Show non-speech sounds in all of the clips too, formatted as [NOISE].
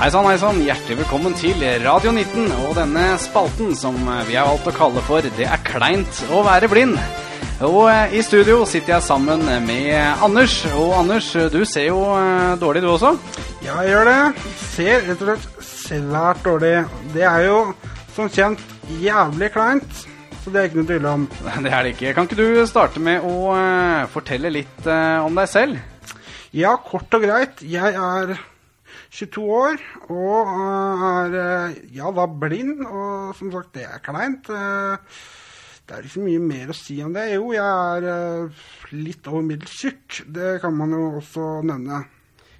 Hei sann, hei sann. Hjertelig velkommen til Radio 19 og denne spalten som vi har valgt å kalle for Det er kleint å være blind. Og eh, i studio sitter jeg sammen med Anders. Og Anders, du ser jo eh, dårlig du også. [LAUGHS] Ja, jeg gjør det. Ser rett og slett svært dårlig. Det er jo som kjent jævlig kleint, så det er ikke noe tvil om. Det er det ikke. Kan ikke du starte med å eh, fortelle litt eh, om deg selv? Ja, kort og greit. Jeg er 22 år og øh, er øh, ja da blind, og som sagt, det er kleint. Eh, Det er ikke så mye mer å si om det. Jo, jeg er øh, litt over middels tjukk. Det kan man jo også nevne.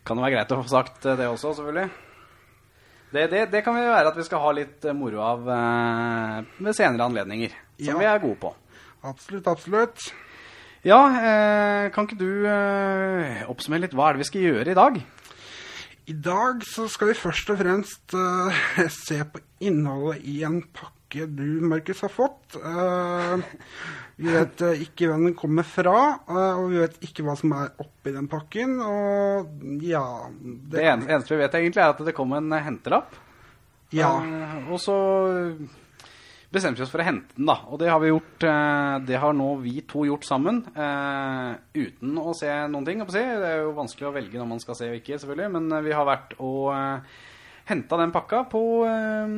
Kan det være greit å få sagt eh, det også, selvfølgelig? Det, det, det kan vi være at vi skal ha litt eh, moro av eh, ved senere anledninger. Som Ja. vi er gode på. Absolutt, absolutt. Ja, eh, kan ikke du eh, oppsummere litt hva er det vi skal gjøre i dag? I dag så skal vi først og fremst eh, [LAUGHS] se på innholdet i en pakke du, Markus, har fått. Eh, vi vet eh, ikke hvem den kommer fra, eh, og vi vet ikke hva som er oppi den pakken. Og ja Det, en- eneste vi vet egentlig er at det kom en eh, hentelapp. Ja. Eh, og så bestemte vi oss for å hente den, da. Og det har vi gjort. Eh, det har nå vi to gjort sammen. Eh, uten å se noen ting, holdt på å si. Det er jo vanskelig å velge når man skal se og ikke, selvfølgelig. Men eh, vi har vært og eh, henta den pakka på eh,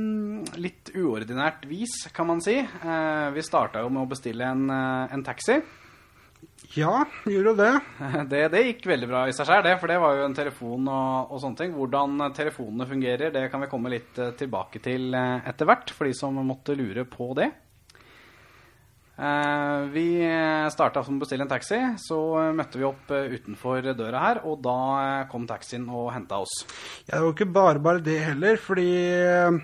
litt uordinært vis, kan man si. Eh, vi starta jo med å bestille en, eh, en taxi. ja, gjorde jo det. [LAUGHS] Det, det gikk veldig bra i seg sjøl, det. For det var jo en telefon og, og sånne ting. Hvordan eh, telefonene fungerer, det kan vi komme litt eh, tilbake til eh, etter hvert, for de som måtte lure på det. Eh, Vi starta med å bestille en taxi. Så eh, møtte vi opp eh, utenfor døra her, og da eh, kom taxien og henta oss. Ja, det var ikke bare bare det heller, fordi eh,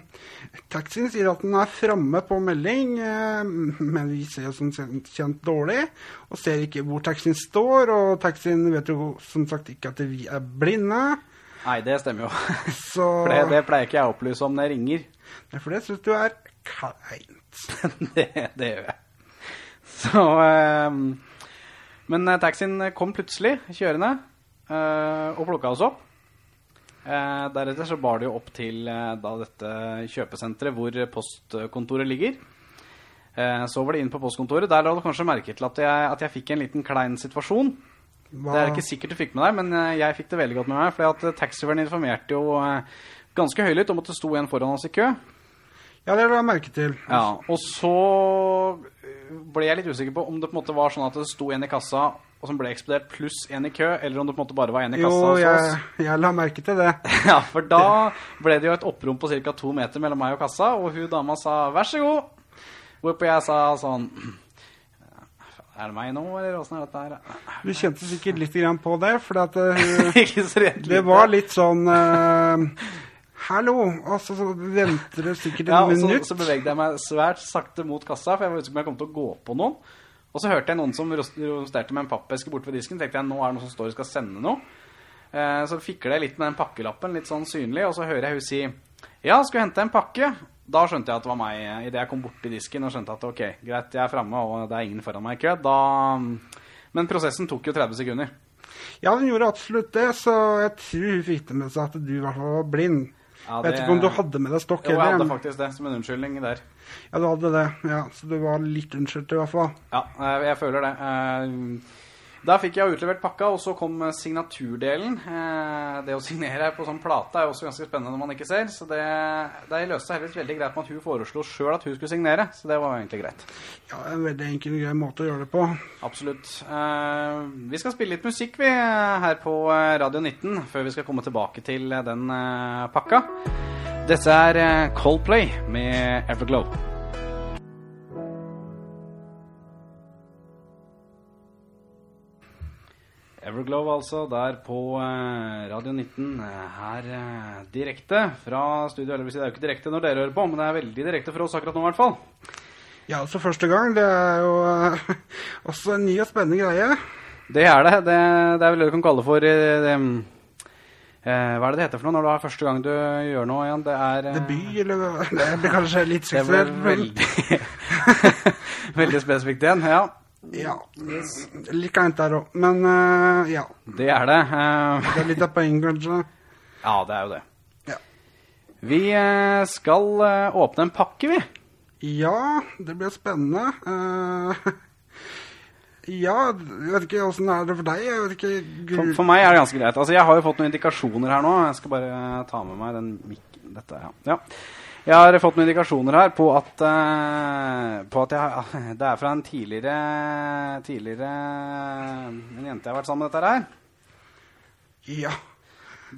taxien sier at den er framme på melding, eh, [LAUGHS] men vi ser jo som kjent, kjent dårlig, og ser ikke hvor taxien står, og taxien vet jo som sagt ikke at vi er blinde, Nei, det stemmer jo. [LAUGHS] så For det, det pleier ikke jeg å opplyse om når jeg ringer. Nei, for det syns du er kleint. [LAUGHS] det, det gjør jeg. Så ehm, Men eh, taxien kom plutselig kjørende eh, og plukka oss opp. Eh, deretter så bar det jo opp til eh, da dette kjøpesenteret hvor postkontoret ligger. Eh, så var det inn på postkontoret. Der la du kanskje merke til at jeg, at jeg fikk en liten klein situasjon. Hva- Det er ikke sikkert du fikk med deg, men eh, jeg fikk det veldig godt med meg. For taxiveren informerte jo eh, ganske høylytt om at det sto en foran oss i kø. Ja, det la jeg merke til. Ja, og så eh, ble jeg litt usikker på om det på en måte var sånn at det sto en i kassa og som ble ekspedert pluss en i kø, eller om det på en måte bare var en i Jo, kassa hos jeg, oss. jeg la merke til det. [LAUGHS] Ja, for da ble det jo et opprom på ca. to meter mellom meg og kassa, og hun dama sa 'vær så god', hvorpå jeg sa sånn Er det meg nå, eller åssen er dette her? [LAUGHS] Du kjente sikkert litt grann på det, for at eh, Ikke så rent Det lite. var litt sånn eh, Hallo! Og så, så venter du sikkert et Ja, og så, minutt. så bevegde jeg meg svært sakte mot kassa, for jeg var usikker på om jeg kom til å gå på noen. Og så hørte jeg noen som rost- rosterte med en pappeske borte ved disken. tenkte jeg, nå er det noen som står og skal sende noe. Eh, så fikler jeg litt med den pakkelappen, litt sånn synlig, og så hører jeg hun si ja, skulle hente en pakke. Da skjønte jeg at det var meg, eh, idet jeg kom bort til disken og skjønte at ok, greit, jeg er framme, og det er ingen foran meg i kø. Da Men prosessen tok jo 30 sekunder. Ja, den gjorde absolutt det, så jeg tror hun fikk det med seg at du i hvert fall var blind. Ja, Jeg vet det- ikke om du hadde med deg stokk Jo, jeg hadde heller. faktisk det som en unnskyldning der. Ja, du hadde det, ja, så du var litt unnskyldt i hvert fall. Ja, eh, jeg føler det. Eh, Da fikk jeg utlevert pakka, og så kom eh, signaturdelen. Eh, Det å [LAUGHS] signere på sånn plate er jo også ganske spennende når man ikke ser. Så det, det løste seg heldigvis veldig greit med at hun foreslo sjøl at hun skulle signere. Så det var jo egentlig greit. Ja, En veldig enkel og grei måte å gjøre det på. Absolutt. Eh, Vi skal spille litt musikk, vi, eh, her på eh, Radio 19 før vi skal komme tilbake til eh, den eh, pakka. Dette er eh, Coldplay med Everglow. Everglow altså, der på eh, Radio 19 eh, her eh, direkte fra studio. Eller vil si, det er jo ikke direkte når dere hører på, men det er veldig direkte for oss akkurat nå i hvert fall. Ja, altså første gang. Det er jo eh, [LAUGHS] også en ny og spennende greie. Det er det. Det, det er vel det du kan kalle for eh, det, mm, eh, Hva er det det heter for noe når du har første gang du gjør noe igjen? Det er eh, Debut, eller hva- [LAUGHS] Det blir kanskje litt Det blir seksuelt. men- veldig, veldig [LAUGHS] spesifikt igjen. Ja, Ja. Litt kleint der òg. Men eh, ja. det er det. Eh, Det er litt av poenget, kanskje. Ja, det er jo det. Ja. Vi eh, skal eh, åpne en pakke, vi. Ja, det blir spennende. Eh, ja, jeg vet ikke åssen er det for deg. Jeg vet ikke For, gru- for meg er det ganske greit. Altså, jeg har jo fått noen indikasjoner her nå. Jeg skal bare ta med meg den mik dette, ja. ja. Jeg har fått noen indikasjoner her på at, eh, på at jeg, har- [LAUGHS] det er fra en tidligere, tidligere En jente jeg har vært sammen med dette her. Ja.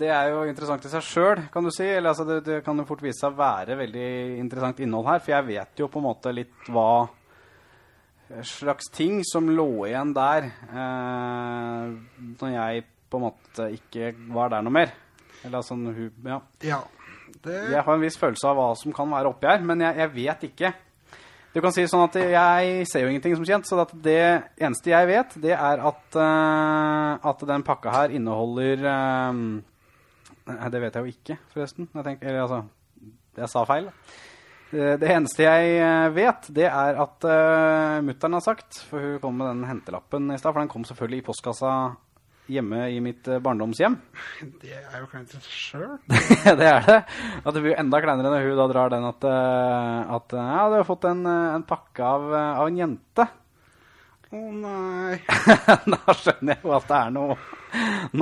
Det er jo interessant i seg sjøl, kan du si. Eller altså, det, det kan jo fort vise seg å være veldig interessant innhold her. For jeg vet jo på en måte litt hva slags ting som lå igjen der eh, når jeg på en måte ikke var der noe mer. Eller altså, hun, ja. ja. Det, Jeg har en viss følelse av hva som kan være oppi her, men jeg, jeg vet ikke. Du kan si sånn at Jeg ser jo ingenting, som kjent, så at det eneste jeg vet, det er at, eh, at den pakka her inneholder eh, Nei, Det vet jeg jo ikke, forresten. Jeg tenker, eller altså Jeg sa feil. Eh, Det eneste jeg eh, vet, det er at uh, mutter'n har sagt For hun kom med den hentelappen i stad, for den kom selvfølgelig i postkassa hjemme i mitt eh, barndomshjem. det er jo kleint i seg sjøl. [LAUGHS] det er det. At det blir jo enda kleinere når hun da drar den at, eh, at eh, ja, du har fått en, eh, en pakke av, eh, av en jente. Å nei. [LAUGHS] da skjønner jeg jo at det er noe,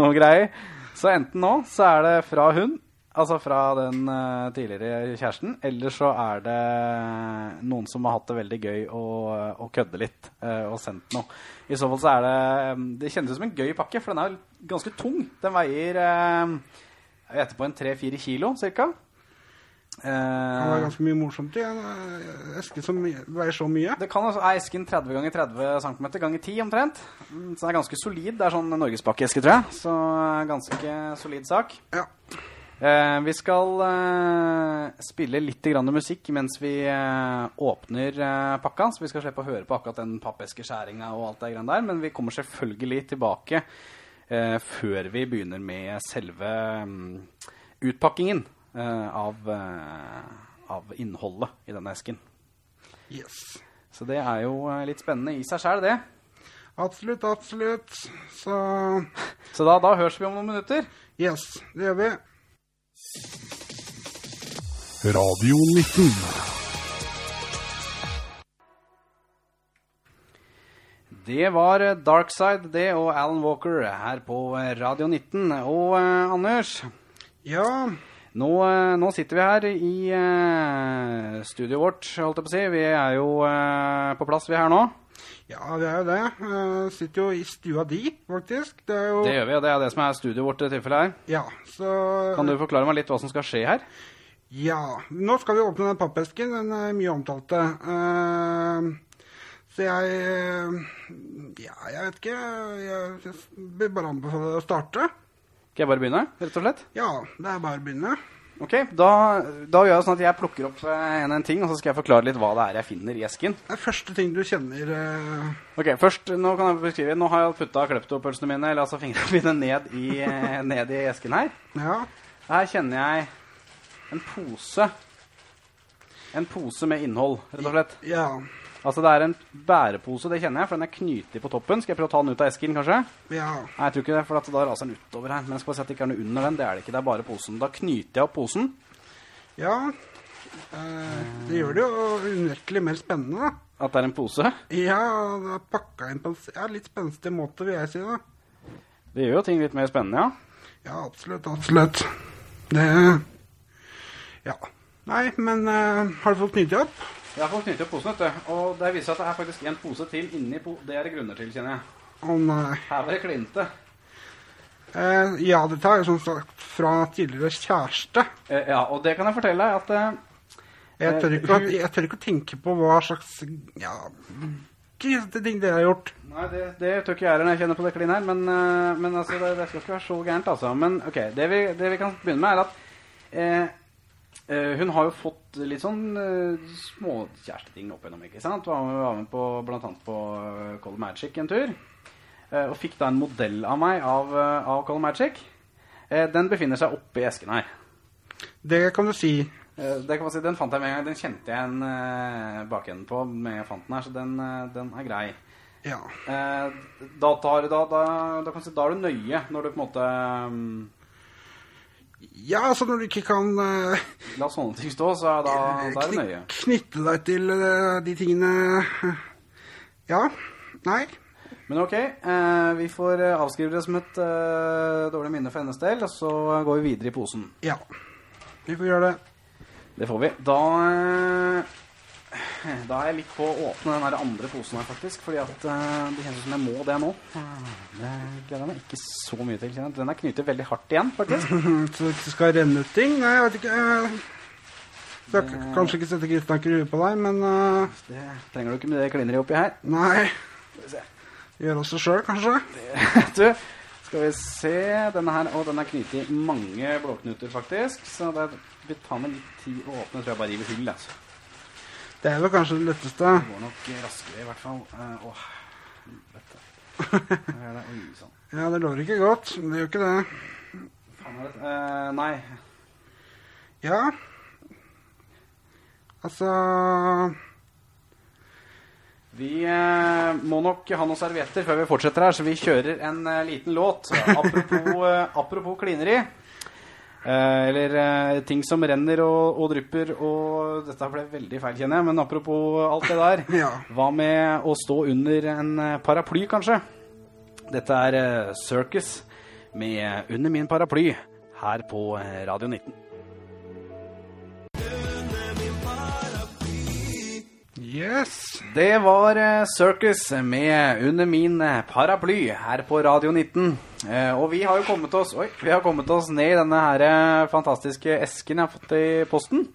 noe greier. Så enten nå så er det fra hun, altså fra den eh, tidligere kjæresten, eller så er det eh, noen som har hatt det veldig gøy og, og kødde litt eh, og sendt noe. I så fall så er det eh, Det kjennes ut som en gøy pakke, for den er jo ganske tung. Den veier eh, jeg gjetter på en 3-4 kilo cirka. Det Eh, var ganske mye morsomt i en eh, eske som veier så mye. det kan altså, er esken 30 ganger 30 cm ganger 10 omtrent. Mm, Så den er ganske solid. Det er sånn norgespakkeeske, tror jeg. Så eh, ganske solid sak. Ja. Eh, vi skal eh, spille litt grann musikk mens vi eh, åpner eh, pakka, så vi skal slippe å høre på akkurat den pappeskeskjæringa og alt det grann der, men vi kommer selvfølgelig tilbake eh, før vi begynner med selve mm, utpakkingen eh, av, eh, av innholdet i denne esken. Yes. Så det er jo eh, litt spennende i seg sjæl, det. Absolutt, absolutt. Så Så da, da høres vi om noen minutter. yes, det gjør vi. Radio 19. Det var eh, Darkside, det, og Alan Walker her på eh, Radio 19. Og eh, Anders, Ja. nå, eh, nå sitter vi her i eh, studioet vårt, holdt jeg på å si. Vi er jo eh, på plass, vi er her nå. Ja, det er jo det. Eh, sitter jo i stua di, faktisk. Det er jo Det gjør vi, og det er det som er studioet vårt i tilfellet her. Ja, så Kan du forklare meg litt hva som skal skje her? Ja. Nå skal vi åpne den pappesken, den eh, mye omtalte. Eh, så jeg eh, Ja, jeg vet ikke. Jeg vil bare anbefale deg å starte. Skal jeg bare begynne, rett og slett? Ja, det er bare å begynne. Ok, da, da gjør jeg sånn at jeg plukker opp eh, en en ting, og så skal jeg forklare litt hva det er jeg finner i esken. Det er første ting du kjenner eh, Ok, først, Nå kan jeg beskrive. Nå har jeg putta kleptopølsene mine eller altså fingrene mine, ned i, eh, ned i esken her. Ja. Her kjenner jeg en pose. En pose med innhold, rett og slett. Ja. Altså Det er en bærepose, det kjenner jeg, for den er knytig på toppen. Skal jeg prøve å ta den ut av esken, kanskje? Ja. Nei, jeg tror ikke det, for at da raser den utover her. Men jeg skal bare se at det ikke er noe under den. Det er det ikke, det er bare posen. Da knyter jeg opp posen. ja. Eh, det gjør det jo unektelig mer spennende, da. At det er en pose. Ja, det er pakka inn på en s- ja, litt spenstig måte, vil jeg si. da. Det gjør jo ting litt mer spennende, ja. Ja, absolutt, absolutt. Det Ja. Nei, men eh, har du fått knyttet opp? Jeg har fått knyttet opp posen, vet du. Og det viser seg at det er faktisk en pose til inni po... Det er det grunner til, kjenner jeg. Å nei. Her var det klinte. Eh, ja, dette er jo som sagt fra tidligere kjæreste. Eh, Ja, og det kan jeg fortelle deg at eh, Jeg tør Eh, ikke, hun- å- jeg tør ikke å tenke på hva slags ja, grisete ting dere har gjort. Nei, det, det tør ikke jeg heller når jeg kjenner på det klin her, men, eh, men altså, det, det skal ikke være så gærent, altså. Men ok, det vi, det vi kan begynne med, er at eh, eh, hun har jo fått litt sånn eh, små kjæresteting opp gjennom, ikke sant? Hun var med- var med på blant annet på eh, Color Magic en tur, eh, og fikk da en modell av meg av, eh, av Color Magic. Eh, den befinner seg oppe i esken her. Det kan du si. Eh, Det kan man si, Den fant jeg med en gang. Den kjente jeg en eh, bakenden på med jeg fant den her, så den, eh, den er grei. Ja. Eh, da, tar, da, da, da, kan du si, da er du nøye når du på en måte mm, Ja, altså når du ikke kan eh, La sånne ting stå, så [LAUGHS] er da, da er det nøye. kni- knytte deg til eh, de tingene Ja. Nei. Men ok, eh, vi får eh, avskrive det som et eh, dårlig minne for hennes del, og så går vi videre i posen. Ja. Vi får gjøre det. Det får vi. Da, eh, da er jeg litt på å åpne den her andre posen her, faktisk. Fordi at eh, det kjennes ut som jeg må det nå. Det gleder jeg meg ikke så mye til. kjenner jeg. Den er knyttet veldig hardt igjen, faktisk. Så det ikke skal renne ut ting? Nei, jeg vet ikke. eh, Skal k- kanskje ikke sette krittnakker i huet på deg, men eh, [LAUGHS] Det trenger du ikke med det klineriet oppi her. Nei. Skal vi se. Gjøre oss det sjøl, kanskje? [LAUGHS] Du, skal vi se. Denne her, og den er knyttet i mange blåknuter, faktisk. Så det vil ta med litt tid å åpne. Tror jeg bare river hull, altså. Det er vel kanskje det letteste. Det går nok raskere, i hvert fall. Eh, Åh, helvete. Her er det- Oi, sånn. Ja, det lover ikke godt. men Det gjør ikke det. Faen, jeg vet- eh, Nei, Ja. Altså Vi eh, må nok ha noen servietter før vi fortsetter her, så vi kjører en eh, liten låt. Apropos, [LAUGHS] eh, apropos klineri. Eh, eller eh, ting som renner og, og drypper og Dette ble veldig feil, kjenner jeg, men apropos alt det der. Ja. Hva med å stå under en eh, paraply, kanskje? Dette er eh, Circus med eh, Under min paraply her på eh, Radio 19. Yes. Det var eh, Circus med Under min eh, paraply her på Radio 19. Eh, Og vi har jo kommet oss Oi, vi har kommet oss ned i denne her eh, fantastiske esken jeg har fått i posten.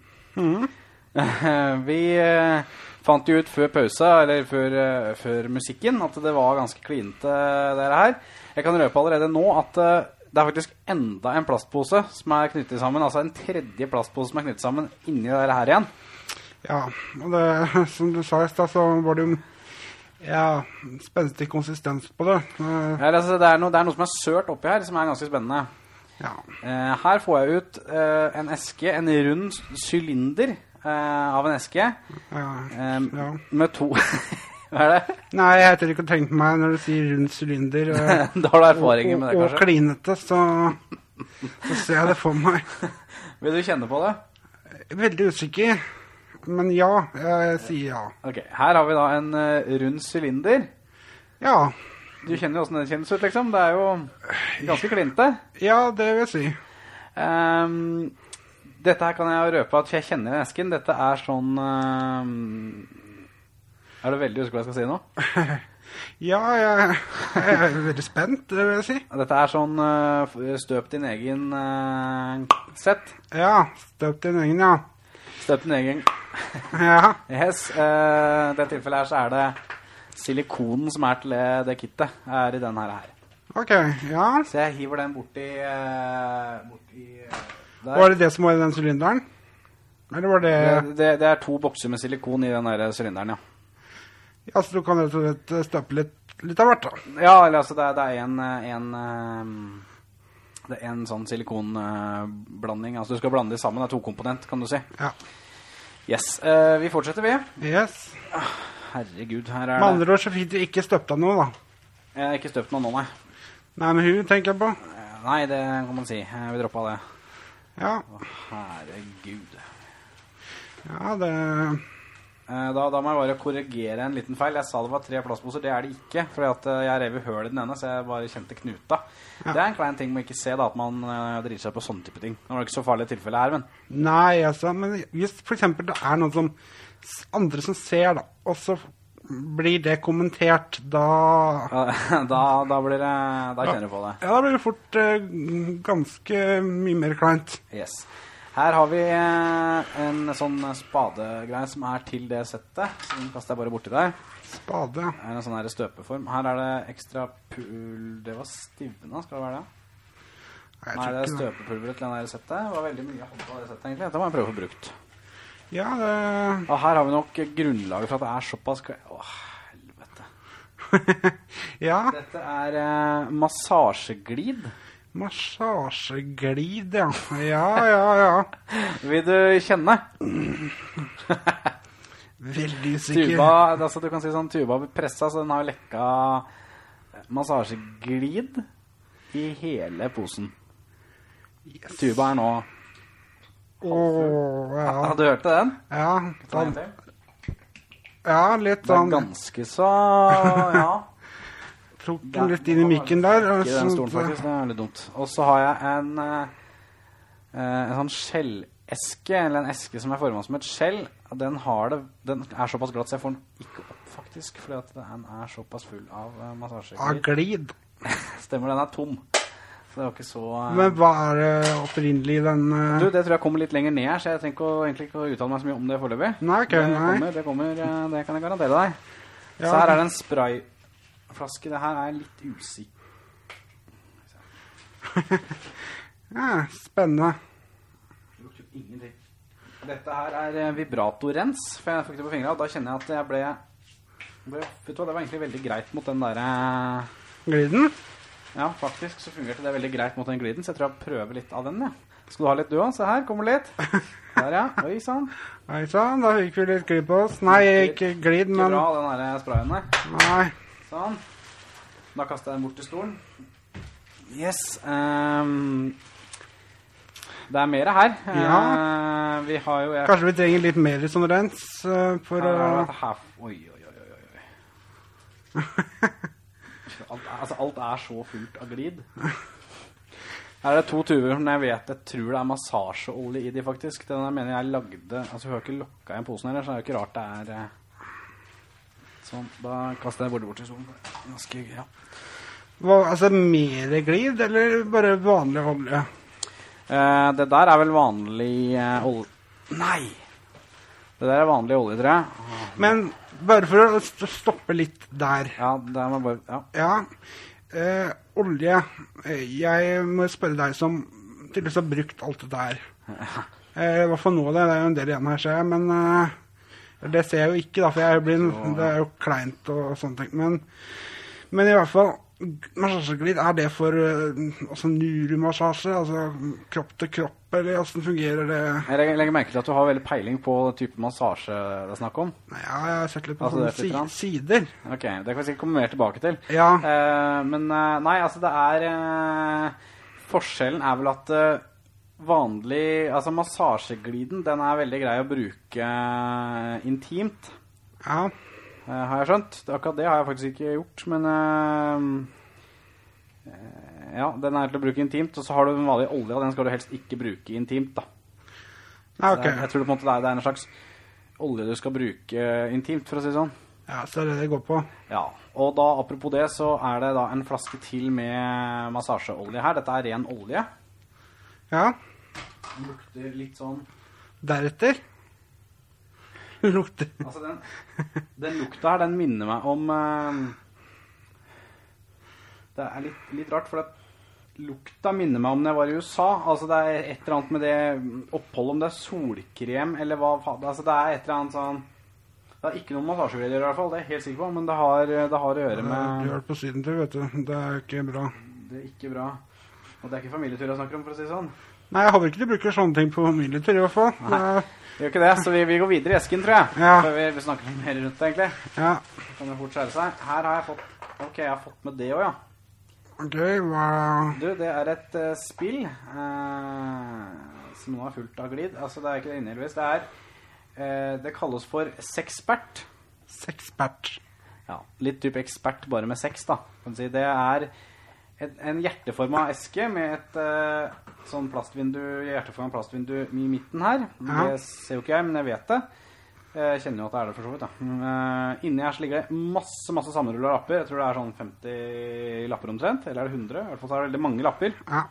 Vi eh, fant jo ut før pausa, eller før, eh, før musikken, at det var ganske klinete, det her. Jeg kan røpe allerede nå at eh, det er faktisk enda en plastpose som er knyttet sammen. Altså en tredje plastpose som er knyttet sammen inni det her igjen. Ja. Og det, som du sa i stad, så var det jo ja, spenstig konsistens på det. Eh, Ja, altså, det, er noe, det er noe som er sørt oppi her, som er ganske spennende. Ja. Eh, her får jeg ut eh, en eske, en rund s- sylinder eh, av en eske, ja. eh, ja. med to [LAUGHS] Hva er det? [LAUGHS] Nei, jeg heter ikke å tenke på meg når du sier rund sylinder eh, Da har du og, [LAUGHS] erfaringer med det, og kanskje? klinete, så, så ser jeg det for meg. Vil du kjenne på det? Veldig usikker. Men ja, jeg sier ja. Ok, Her har vi da en eh, rund sylinder. Ja. Du kjenner jo åssen den kjennes ut, liksom. Det er jo ganske klinte. Ja, det vil jeg si. [LAUGHS] Ehm, dette her kan jeg røpe at jeg kjenner i esken. Dette er sånn ehm, Er du veldig usikker på hva jeg skal si nå? Ja, jeg, jeg er veldig spent, det vil jeg si. Dette er sånn eh, f- støp din egen eh, sett. Ja, støp din egen, ja. Støp din egen [LAUGHS] Ja, Yes, eh, i det tilfellet her så er det silikonen som er til det, det kittet, er i den her. her. ok, ja. Så jeg hiver den borti, uh, borti eh, Var der. det det som var i den sylinderen? Eller var det... Det, det, det er to bokser med silikon i den der sylinderen, ja. Ja, så du kan rett og slett støpe litt, litt av hvert, da. Ja, eller altså, det, er- det er en, eh, en eh, det er en sånn silikonblanding. Altså, du skal blande de sammen. Det er tokomponent, kan du si. Ja. Yes. eh, vi fortsetter, vi. Yes. Herregud, her Med er det andre ord så fint du ikke støpte av noe, da. Jeg har ikke støpt noe nå, nei. Nei, men hun tenker jeg på. Eh, Nei, det kan man si. Eh, Vi droppa det. Ja, Å, herregud. ja, det... Eh, Da, da må jeg bare korrigere en liten feil. Jeg sa det var tre plastposer. Det er det ikke. For jeg rev i hølet i den ene, så jeg bare kjente knuta. Det er en klein ting man ikke ser, da, at man eh, driter seg på sånne type ting. Nå var det ikke så farlig tilfelle her, men Nei, altså, men hvis for eksempel det er noen som... s- Andre som ser, da, og så blir det kommentert, da... eh, [LAUGHS] da, da blir det Da kjenner du på det. Ja, da blir det fort eh, ganske mye mer kleint. Yes. Her har vi eh, en sånn spadegreie som er til det settet. Så den kaster jeg bare borti der. Spade, ja. Det er en sånn her støpeform. Her er det ekstra pul... Det var stivna, skal det være det? Nei, Nei, jeg tror det er ikke det. støpepulveret til den her settet. Det var veldig mye jeg hadde på det settet, egentlig. Dette må jeg prøve å få brukt. Ja, det [LAUGHS] Og her har vi nok grunnlaget for at det er såpass kve- Åh, helvete. Ja, Dette er eh, massasjeglid. massasjeglid, ja. Ja, ja, ja. Vil du kjenne? Veldig usikker. Tuba, altså du kan si sånn, tuba blir pressa, så den har lekka massasjeglid i hele posen. Tuba er nå Åh, ja. Har du hørt den? Ja, Den sånn. ja, litt er sånn. ganske [LAUGHS] så Ja. Tok den litt inn i mikken der. og Ikke den sånn- stolen, faktisk. Det er litt dumt. Og så har jeg en, eh, eh, en sånn skjelleske, eller en eske som er formet som et skjell. Og Den, har det, den er såpass glatt, så jeg får den ikke opp, faktisk. Fordi at den er såpass full av uh, Ah, massasjegreier. glid. Stemmer, den er tom. Så det var ikke så eh, Men hva er det opprinnelig i den eh, Du, det tror jeg kommer litt lenger ned her, så jeg trenger ikke å, egentlig ikke å uttale meg så mye om det foreløpig. Nei, ok, det, nei. kommer, det kommer, eh, det kan jeg garantere deg. Så Ja. her er det en sprayflaske. Det her er litt usikker. ja, Spennende. Det lukter jo ingenting. Dette her er eh, vibratorens, for jeg fikk det på fingra, og da kjenner jeg at jeg ble, ble Vet du hva, det var egentlig veldig greit mot den derre Gliden? Ja, faktisk så fungerte det veldig greit mot den gliden, så jeg tror jeg prøver litt av den, jeg. Skal du ha litt, du òg? Se her, kommer litt. Der, ja. Oi sånn. sann. Nei sann, da gikk vi litt glid på oss. Nei, ikke glid, Ikke men bra, den derre sprayen der. Nei. Sånn. Da kaster jeg den bort til stolen. Yes. ehm, det er mer her. Eh, vi har jo jeg, Kanskje vi trenger litt mer sånn rens eh, for her, å her, her, Oi, oi, oi, oi. oi. [LAUGHS] alt, er- altså, alt er så fullt av glid. Her er det to tuber som jeg vet jeg tror det er massasjeolje i de, faktisk. Den jeg mener jeg lagde Altså, hun har ikke lokka igjen posen heller, så det er jo ikke rart det er eh, Sånn. Da kaster jeg bordet bort til stolen. Ganske ja. hva, Altså mer glid, eller bare vanlig olje? Eh, det der er vel vanlig eh, ol... Nei! Det der er vanlig olje, tror jeg. Men bare for å st- stoppe litt der. Ja, det må bare ja. Ja. Eh, olje Eh, Jeg må spørre deg som tydeligvis har brukt alt det der. Eh, I hvert fall noe av det. Det er jo en del igjen her, ser jeg. Men eh, det ser jeg jo ikke, da, for jeg er jo blind. Det er jo kleint og, sånne ting. Men, men i hvert fall g- Massasjeglid, er det for eh, altså nurumassasje? Altså kropp til kropp, eller åssen fungerer det? Jeg legger- legger merke til at du har veldig peiling på type massasje det er snakk om. Nei, ja, jeg har sett litt på Altså, det er litt sånne grann. si sider. Ok, Det kan vi sikkert komme mer tilbake til. Ja. Eh, men eh, nei, altså det er eh, Forskjellen er vel at eh, vanlig Altså massasjegliden, den er veldig grei å bruke eh, intimt. Ja. Eh, har jeg skjønt. Det- Akkurat det har jeg faktisk ikke gjort, men eh, eh, Ja, den er til å bruke intimt, og så har du den vanlige olja, den skal du helst ikke bruke intimt, da. Så det er- Nei, Ah, ok. Jeg tror det på en måte det er, det er en slags olje du skal bruke eh, intimt, for å si det sånn. Ja, så det er det det går på. Ja, og da apropos det, så er det da en flaske til med massasjeolje her. Dette er ren olje. Ja. Den lukter litt sånn Deretter [LAUGHS] lukter Altså, den, den lukta her, den minner meg om eh, Det er litt, litt rart, for at lukta minner meg om da jeg var i USA. Altså, det er et eller annet med det oppholdet, om det er solkrem eller hva fa- Altså, det er et eller annet sånn Det er ikke noe massasjeolje i hvert fall, det er jeg helt sikker på, men det har, det har å gjøre Du har med vært på sydentur, vet du. Det er ikke bra. Det er ikke bra. Og det er ikke familietur jeg snakker om, for å si det sånn. Nei, jeg håper ikke du bruker sånne ting på familietur, i hvert fall. Det Det gjør ikke det, så vi, vi går videre i esken, tror jeg. Ja. Før vi, vi snakker mer rundt det, egentlig. er- Ja, Det Kan jo fort skjære seg. Her har jeg fått Ok, jeg har fått med det òg, ja. OK, hva Du, det er et eh, spill eh, som nå er fullt av glid. Altså, det er ikke det inne, heldigvis. Det er eh, Det kalles for sexpert. Sexpert. Ja, litt type ekspert, bare med sex, da. Kan du si. Det er en, en hjerteforma eske med et eh, sånn plastvindu, hjerteforma plastvindu i midten her. Ja. Det ser jo ikke jeg, men jeg vet det. Jeg kjenner jo at det er det, for så vidt. da. Mm, eh, inni her så ligger det masse masse sammenrulla lapper. Jeg tror det er sånn 50 lapper omtrent. Eller er det 100? I hvert fall så er det veldig mange lapper. Ja.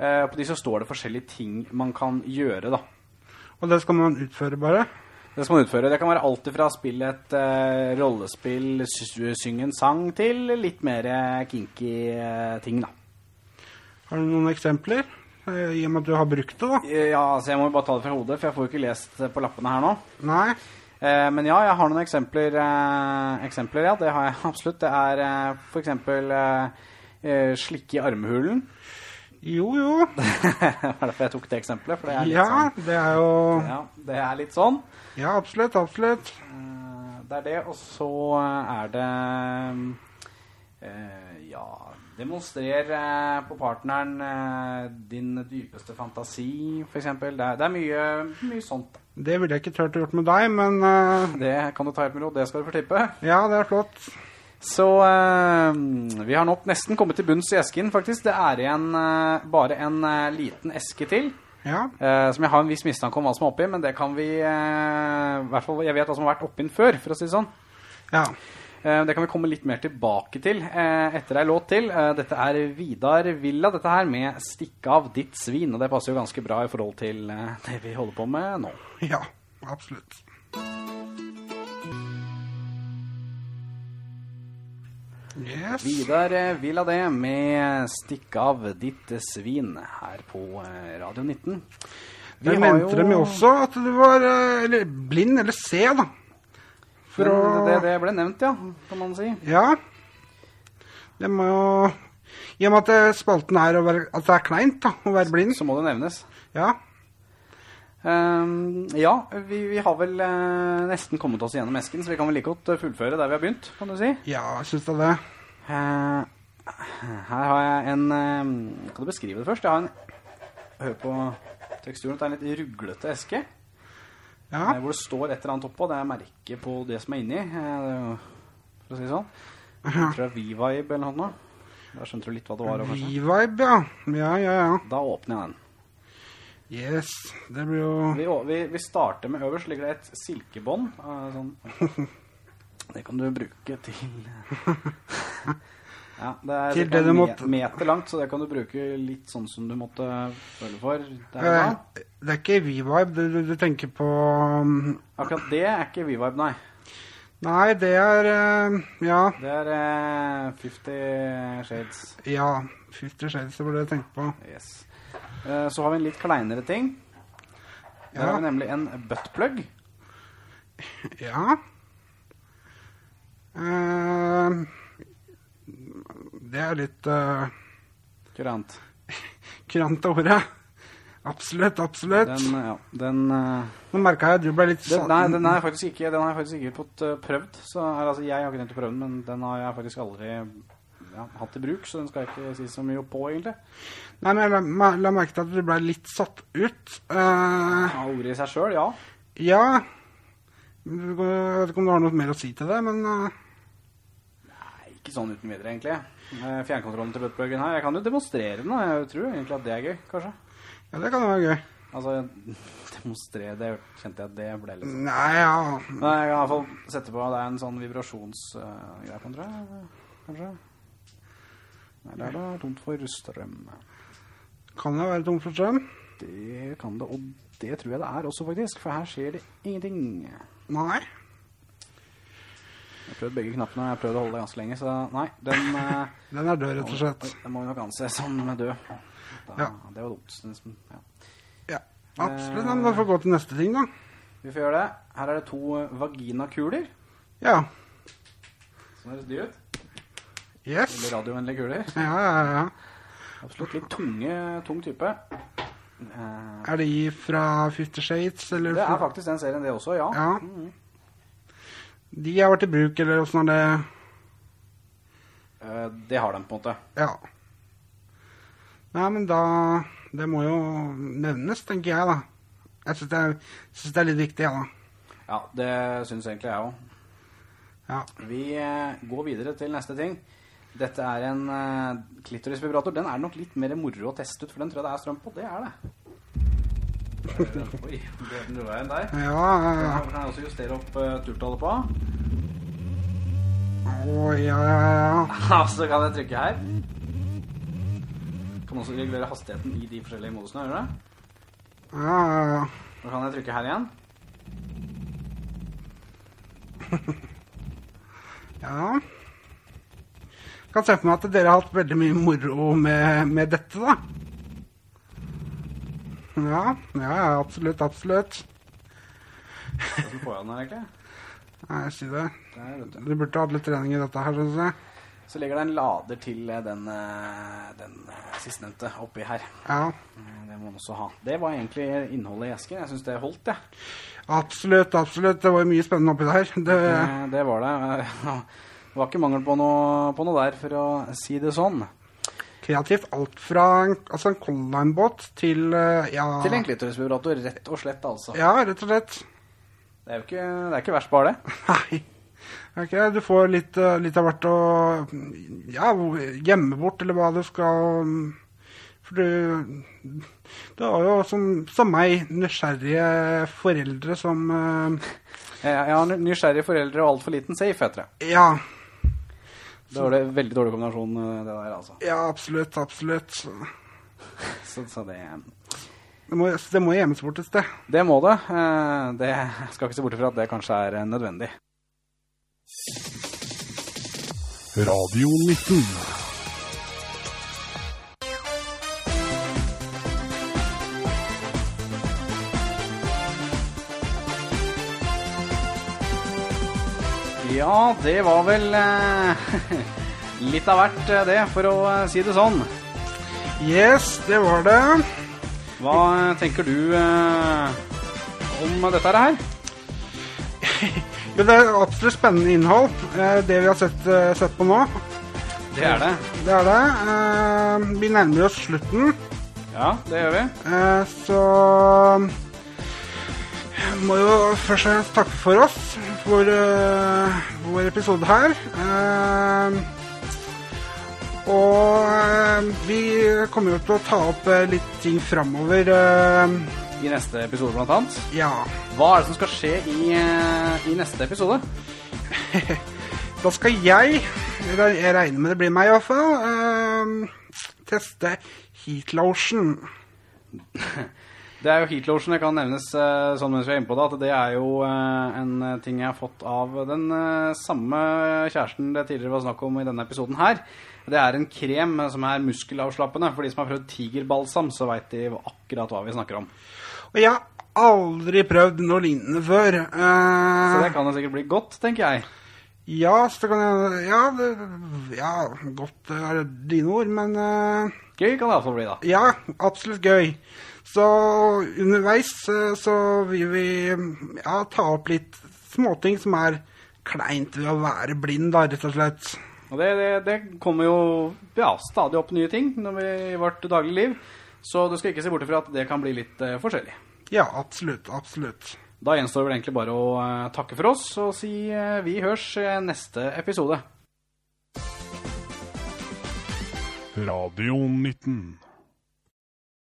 Eh, på de så står det forskjellige ting man kan gjøre, da. Og det skal man utføre, bare? Det skal man utføre. Det kan være alt fra spille et eh, rollespill, sy- synge en sang, til litt mer eh, kinky eh, ting, da. Har du noen eksempler? Eh, I og med at du har brukt det, da. Eh, Ja, altså jeg må jo bare ta det fra hodet, for jeg får jo ikke lest eh, på lappene her nå. Nei? Eh, men ja, jeg har noen eksempler. Eh, eksempler, ja, det har jeg [LAUGHS] absolutt. Det er eh, for eksempel eh, eh, slikke i armhulen. [LAUGHS] Jo, jo. Det var derfor jeg tok det eksempelet, for det er litt Ja, sånn. det er jo Ja, det er litt sånn. Ja, absolutt. Absolutt. Eh, Det er det, og så eh, er det Eh, ja Demonstrer eh, på partneren eh, din dypeste fantasi, f.eks. Det, er- det er mye, mye sånt. da. Det ville jeg ikke turt å gjort med deg, men eh, Det kan du ta helt med ro. Det skal du få tippe. ja, det er flott. Så eh, vi har nok nesten kommet til bunns i esken, faktisk. Det er igjen eh, bare en eh, liten eske til. Ja. eh, som jeg har en viss mistanke om hva som er oppi, men det kan vi eh, i hvert fall, Jeg vet hva som har vært oppi den før, for å si det sånn. ja. Eh, Det kan vi komme litt mer tilbake til eh, etter ei låt til. Eh, Dette er Vidar Villa, dette her, med 'Stikk av ditt svin'. Og det passer jo ganske bra i forhold til eh, det vi holder på med nå. [LAUGHS] Ja, absolutt. Yes. Vidar eh, Villa det, med 'Stikk av ditt svin' her på eh, Radio 19. Der mente de jo også at du var eh, eller, blind, eller se, da. For Men å det, det ble nevnt, ja, kan man si. Ja. Det må jo I og med at eh, spalten er å være, at det er kleint da, å være blind. Så må det nevnes. Ja. Ehm, ja, vi, vi har vel eh, nesten kommet oss gjennom esken, så vi kan vel like godt eh, fullføre der vi har begynt, kan du si. Ja, syns du det? Eh, her har jeg en eh, Kan du beskrive det først? Jeg har en Hør på teksturen at det er en litt ruglete eske. Ja. eh, Hvor det står et eller annet oppå. Det er merket på det som er inni. eh, det er jo- For å si det sånn. Jeg tror det er V-vibe eller noe. Da skjønte du litt hva det var. Kanskje. V-vibe, ja. Ja, ja, ja. Da åpner jeg den. Yes. Det blir jo Vi, å- vi, vi starter med øverst ligger det et silkebånd. eh, [LAUGHS] Sånn. Det kan du bruke til Ja, det er Til cirka det du en me- måtte- meter langt, så det kan du bruke litt sånn som du måtte føle for. Der og Eh, da. Det er ikke V-vibe du, du, du tenker på um, Akkurat det er ikke V-vibe, nei. Nei, det er eh, Ja. Det er eh, 50 shades. Ja. Fifty Shades det var det jeg tenkte på. Yes. Eh, så har vi en litt kleinere ting. Der Ja. har vi nemlig en buttplug. Ja. Eh, det er litt uh, Kurant. kurant av ordet. Absolutt, absolutt. Den, ja, den eh, Nå merka jeg at du ble litt Den, sånn nei, den, er faktisk ikke, den har jeg faktisk ikke fått eh, prøvd. Så, eller, altså, jeg har ikke tenkt å prøve den, men den har jeg faktisk aldri ja, hatt i bruk, så den skal jeg ikke si så mye på, egentlig. Nei, men jeg la, ma- la merke til at du ble litt satt ut. Eh, Ja, ordet i seg sjøl, ja. ja Du- Jeg vet ikke om du har noe mer å si til det, men eh, Nei, ikke sånn uten videre, egentlig. Eh, Fjernkontrollen til buttpluggen her. Jeg kan jo demonstrere den, da. jeg tror egentlig at det er gøy, kanskje. ja, det kan jo være gøy. Altså, [LAUGHS] demonstrere Det kjente jeg at det ble litt sånn. Nei, ja Men jeg kan i hvert fall sette på Det er en sånn vibrasjonsgreie på den, tror jeg. Kanskje. Nei, det er da tomt for strøm. Kan jeg være tom for strøm? Det kan det, og det tror jeg det er også, faktisk. For her skjer det ingenting. Jeg Nei. har prøvd begge knappene, jeg har prøvd å holde det ganske lenge, så nei, den, eh, [LAUGHS] Den er død, rett og slett. den må vi nok anse som død. Da, Ja. Det var dumt. nesten, Ja. Ja, absolutt. Ja, Men da får vi gå til neste ting, da. Vi får gjøre det. Her er det to eh, vaginakuler. Ja. Sånn høres de ut. Yes. Veldig radiovennlige kuler. Ja, ja, ja. Absolutt litt tunge, tung type. Eh, Er de fra Fifty Shades, eller? Det er fra- faktisk den serien, det også, ja. Ja. Mhm. De har vært i bruk, eller åssen er det? Eh, Det har den, på en måte. Ja. Nei, men da Det må jo nevnes, tenker jeg, da. Jeg syns det, er- synes det er litt viktig, jeg, Ja, det syns egentlig jeg òg. da. Ja. Vi eh, går videre til neste ting. Dette er en eh, klitorisvibrator. Den er nok litt mer moro å teste ut, for den tror jeg det er strøm på. Det er det. Oi, det er den røde veien der. Ja, Den ja, kan jeg også justere opp uh, turtallet på. [LAUGHS] ja. Å, ja, ja, ja. Så kan jeg trykke her. Kan også regulere hastigheten i de forskjellige modusene. Hører du? det? ja, ja, ja. Nå kan jeg trykke her igjen. ja. Kan se for meg at dere har hatt veldig mye moro med, med dette, da. Ja, ja, ja, absolutt, absolutt. Hvordan får jeg den her, egentlig? Nei, si det. Der, vet du. Du burde hatt litt trening i dette her, syns jeg. Så ligger det en lader til eh, den, eh, den eh, sistnevnte oppi her. Ja. Eh, Det må man også ha. Det var egentlig innholdet i esken. Jeg syns det holdt, jeg. Absolutt, absolutt. Det var jo mye spennende oppi der. Det, Eh, Det [LAUGHS] var det. Det var ikke mangel på noe, på noe der, for å si det sånn. Kreativt. Alt fra en, altså en Color Line-båt til eh, ja, Til en klitorisvibrator, rett og slett, altså. ja, rett og slett. Det er jo ikke, det er ikke verst, bare det. Nei. Det er ikke det. Du får litt, eh, litt av hvert å ja, gjemme bort, eller hva du skal mm, For du Du har jo, som, som meg, nysgjerrige foreldre som eh, Jeg, jeg har nysgjerrige foreldre og altfor liten safe, heter det. Ja. Det var det veldig dårlig kombinasjon, eh, det der, altså. Ja, absolutt. Absolutt. Så Så, så det, Det må, så det må gjemmes bort et sted. det må det. Eh, Det jeg skal ikke se bort ifra at det kanskje er eh, nødvendig. Radio 19. Ja, det var vel eh, [LAUGHS] litt av hvert, eh, det, for å eh, si det sånn. Yes, det var det. Hva eh, tenker du eh, om dette her? Jo, det er absolutt spennende innhold, eh, det vi har sett, eh, sett på nå. Det er det. Det er det. Eh, Vi nærmer oss slutten. Ja, det gjør vi. Eh, Så må jo først og fremst takke for oss, for eh, vår episode her. Eh, og eh, vi kommer jo til å ta opp eh, litt ting framover. eh, I neste episode, blant annet. ja. Hva er det som skal skje i, eh, i neste episode? Da skal jeg, eller jeg regner med det blir meg i hvert fall, eh, teste Heat Lotion. Det er jo heatlotion. Jeg kan nevnes eh, sånn mens vi er inne på det, at det er jo eh, en ting jeg har fått av den eh, samme kjæresten det tidligere var snakk om i denne episoden her. Det er en krem som er muskelavslappende. For de som har prøvd tigerbalsam, så veit de akkurat hva vi snakker om. Og jeg har aldri prøvd noe lignende før. Eh, Så det kan jo sikkert bli godt, tenker jeg. Ja, så det kan jeg Ja, det, ja godt eh, er det dine ord, men eh, Gøy kan det iallfall bli, da. Ja, absolutt gøy. Så underveis eh, så vil vi ja, ta opp litt småting som er kleint ved å være blind, da, rett og slett. Og det, det, det kommer jo ja, stadig opp nye ting når vi, i vårt daglige liv. Så du skal ikke se bort ifra at det kan bli litt eh, forskjellig. Ja, absolutt. Absolutt. Da gjenstår vel egentlig bare å eh, takke for oss og si eh, vi hørs eh, neste episode. Radio 19.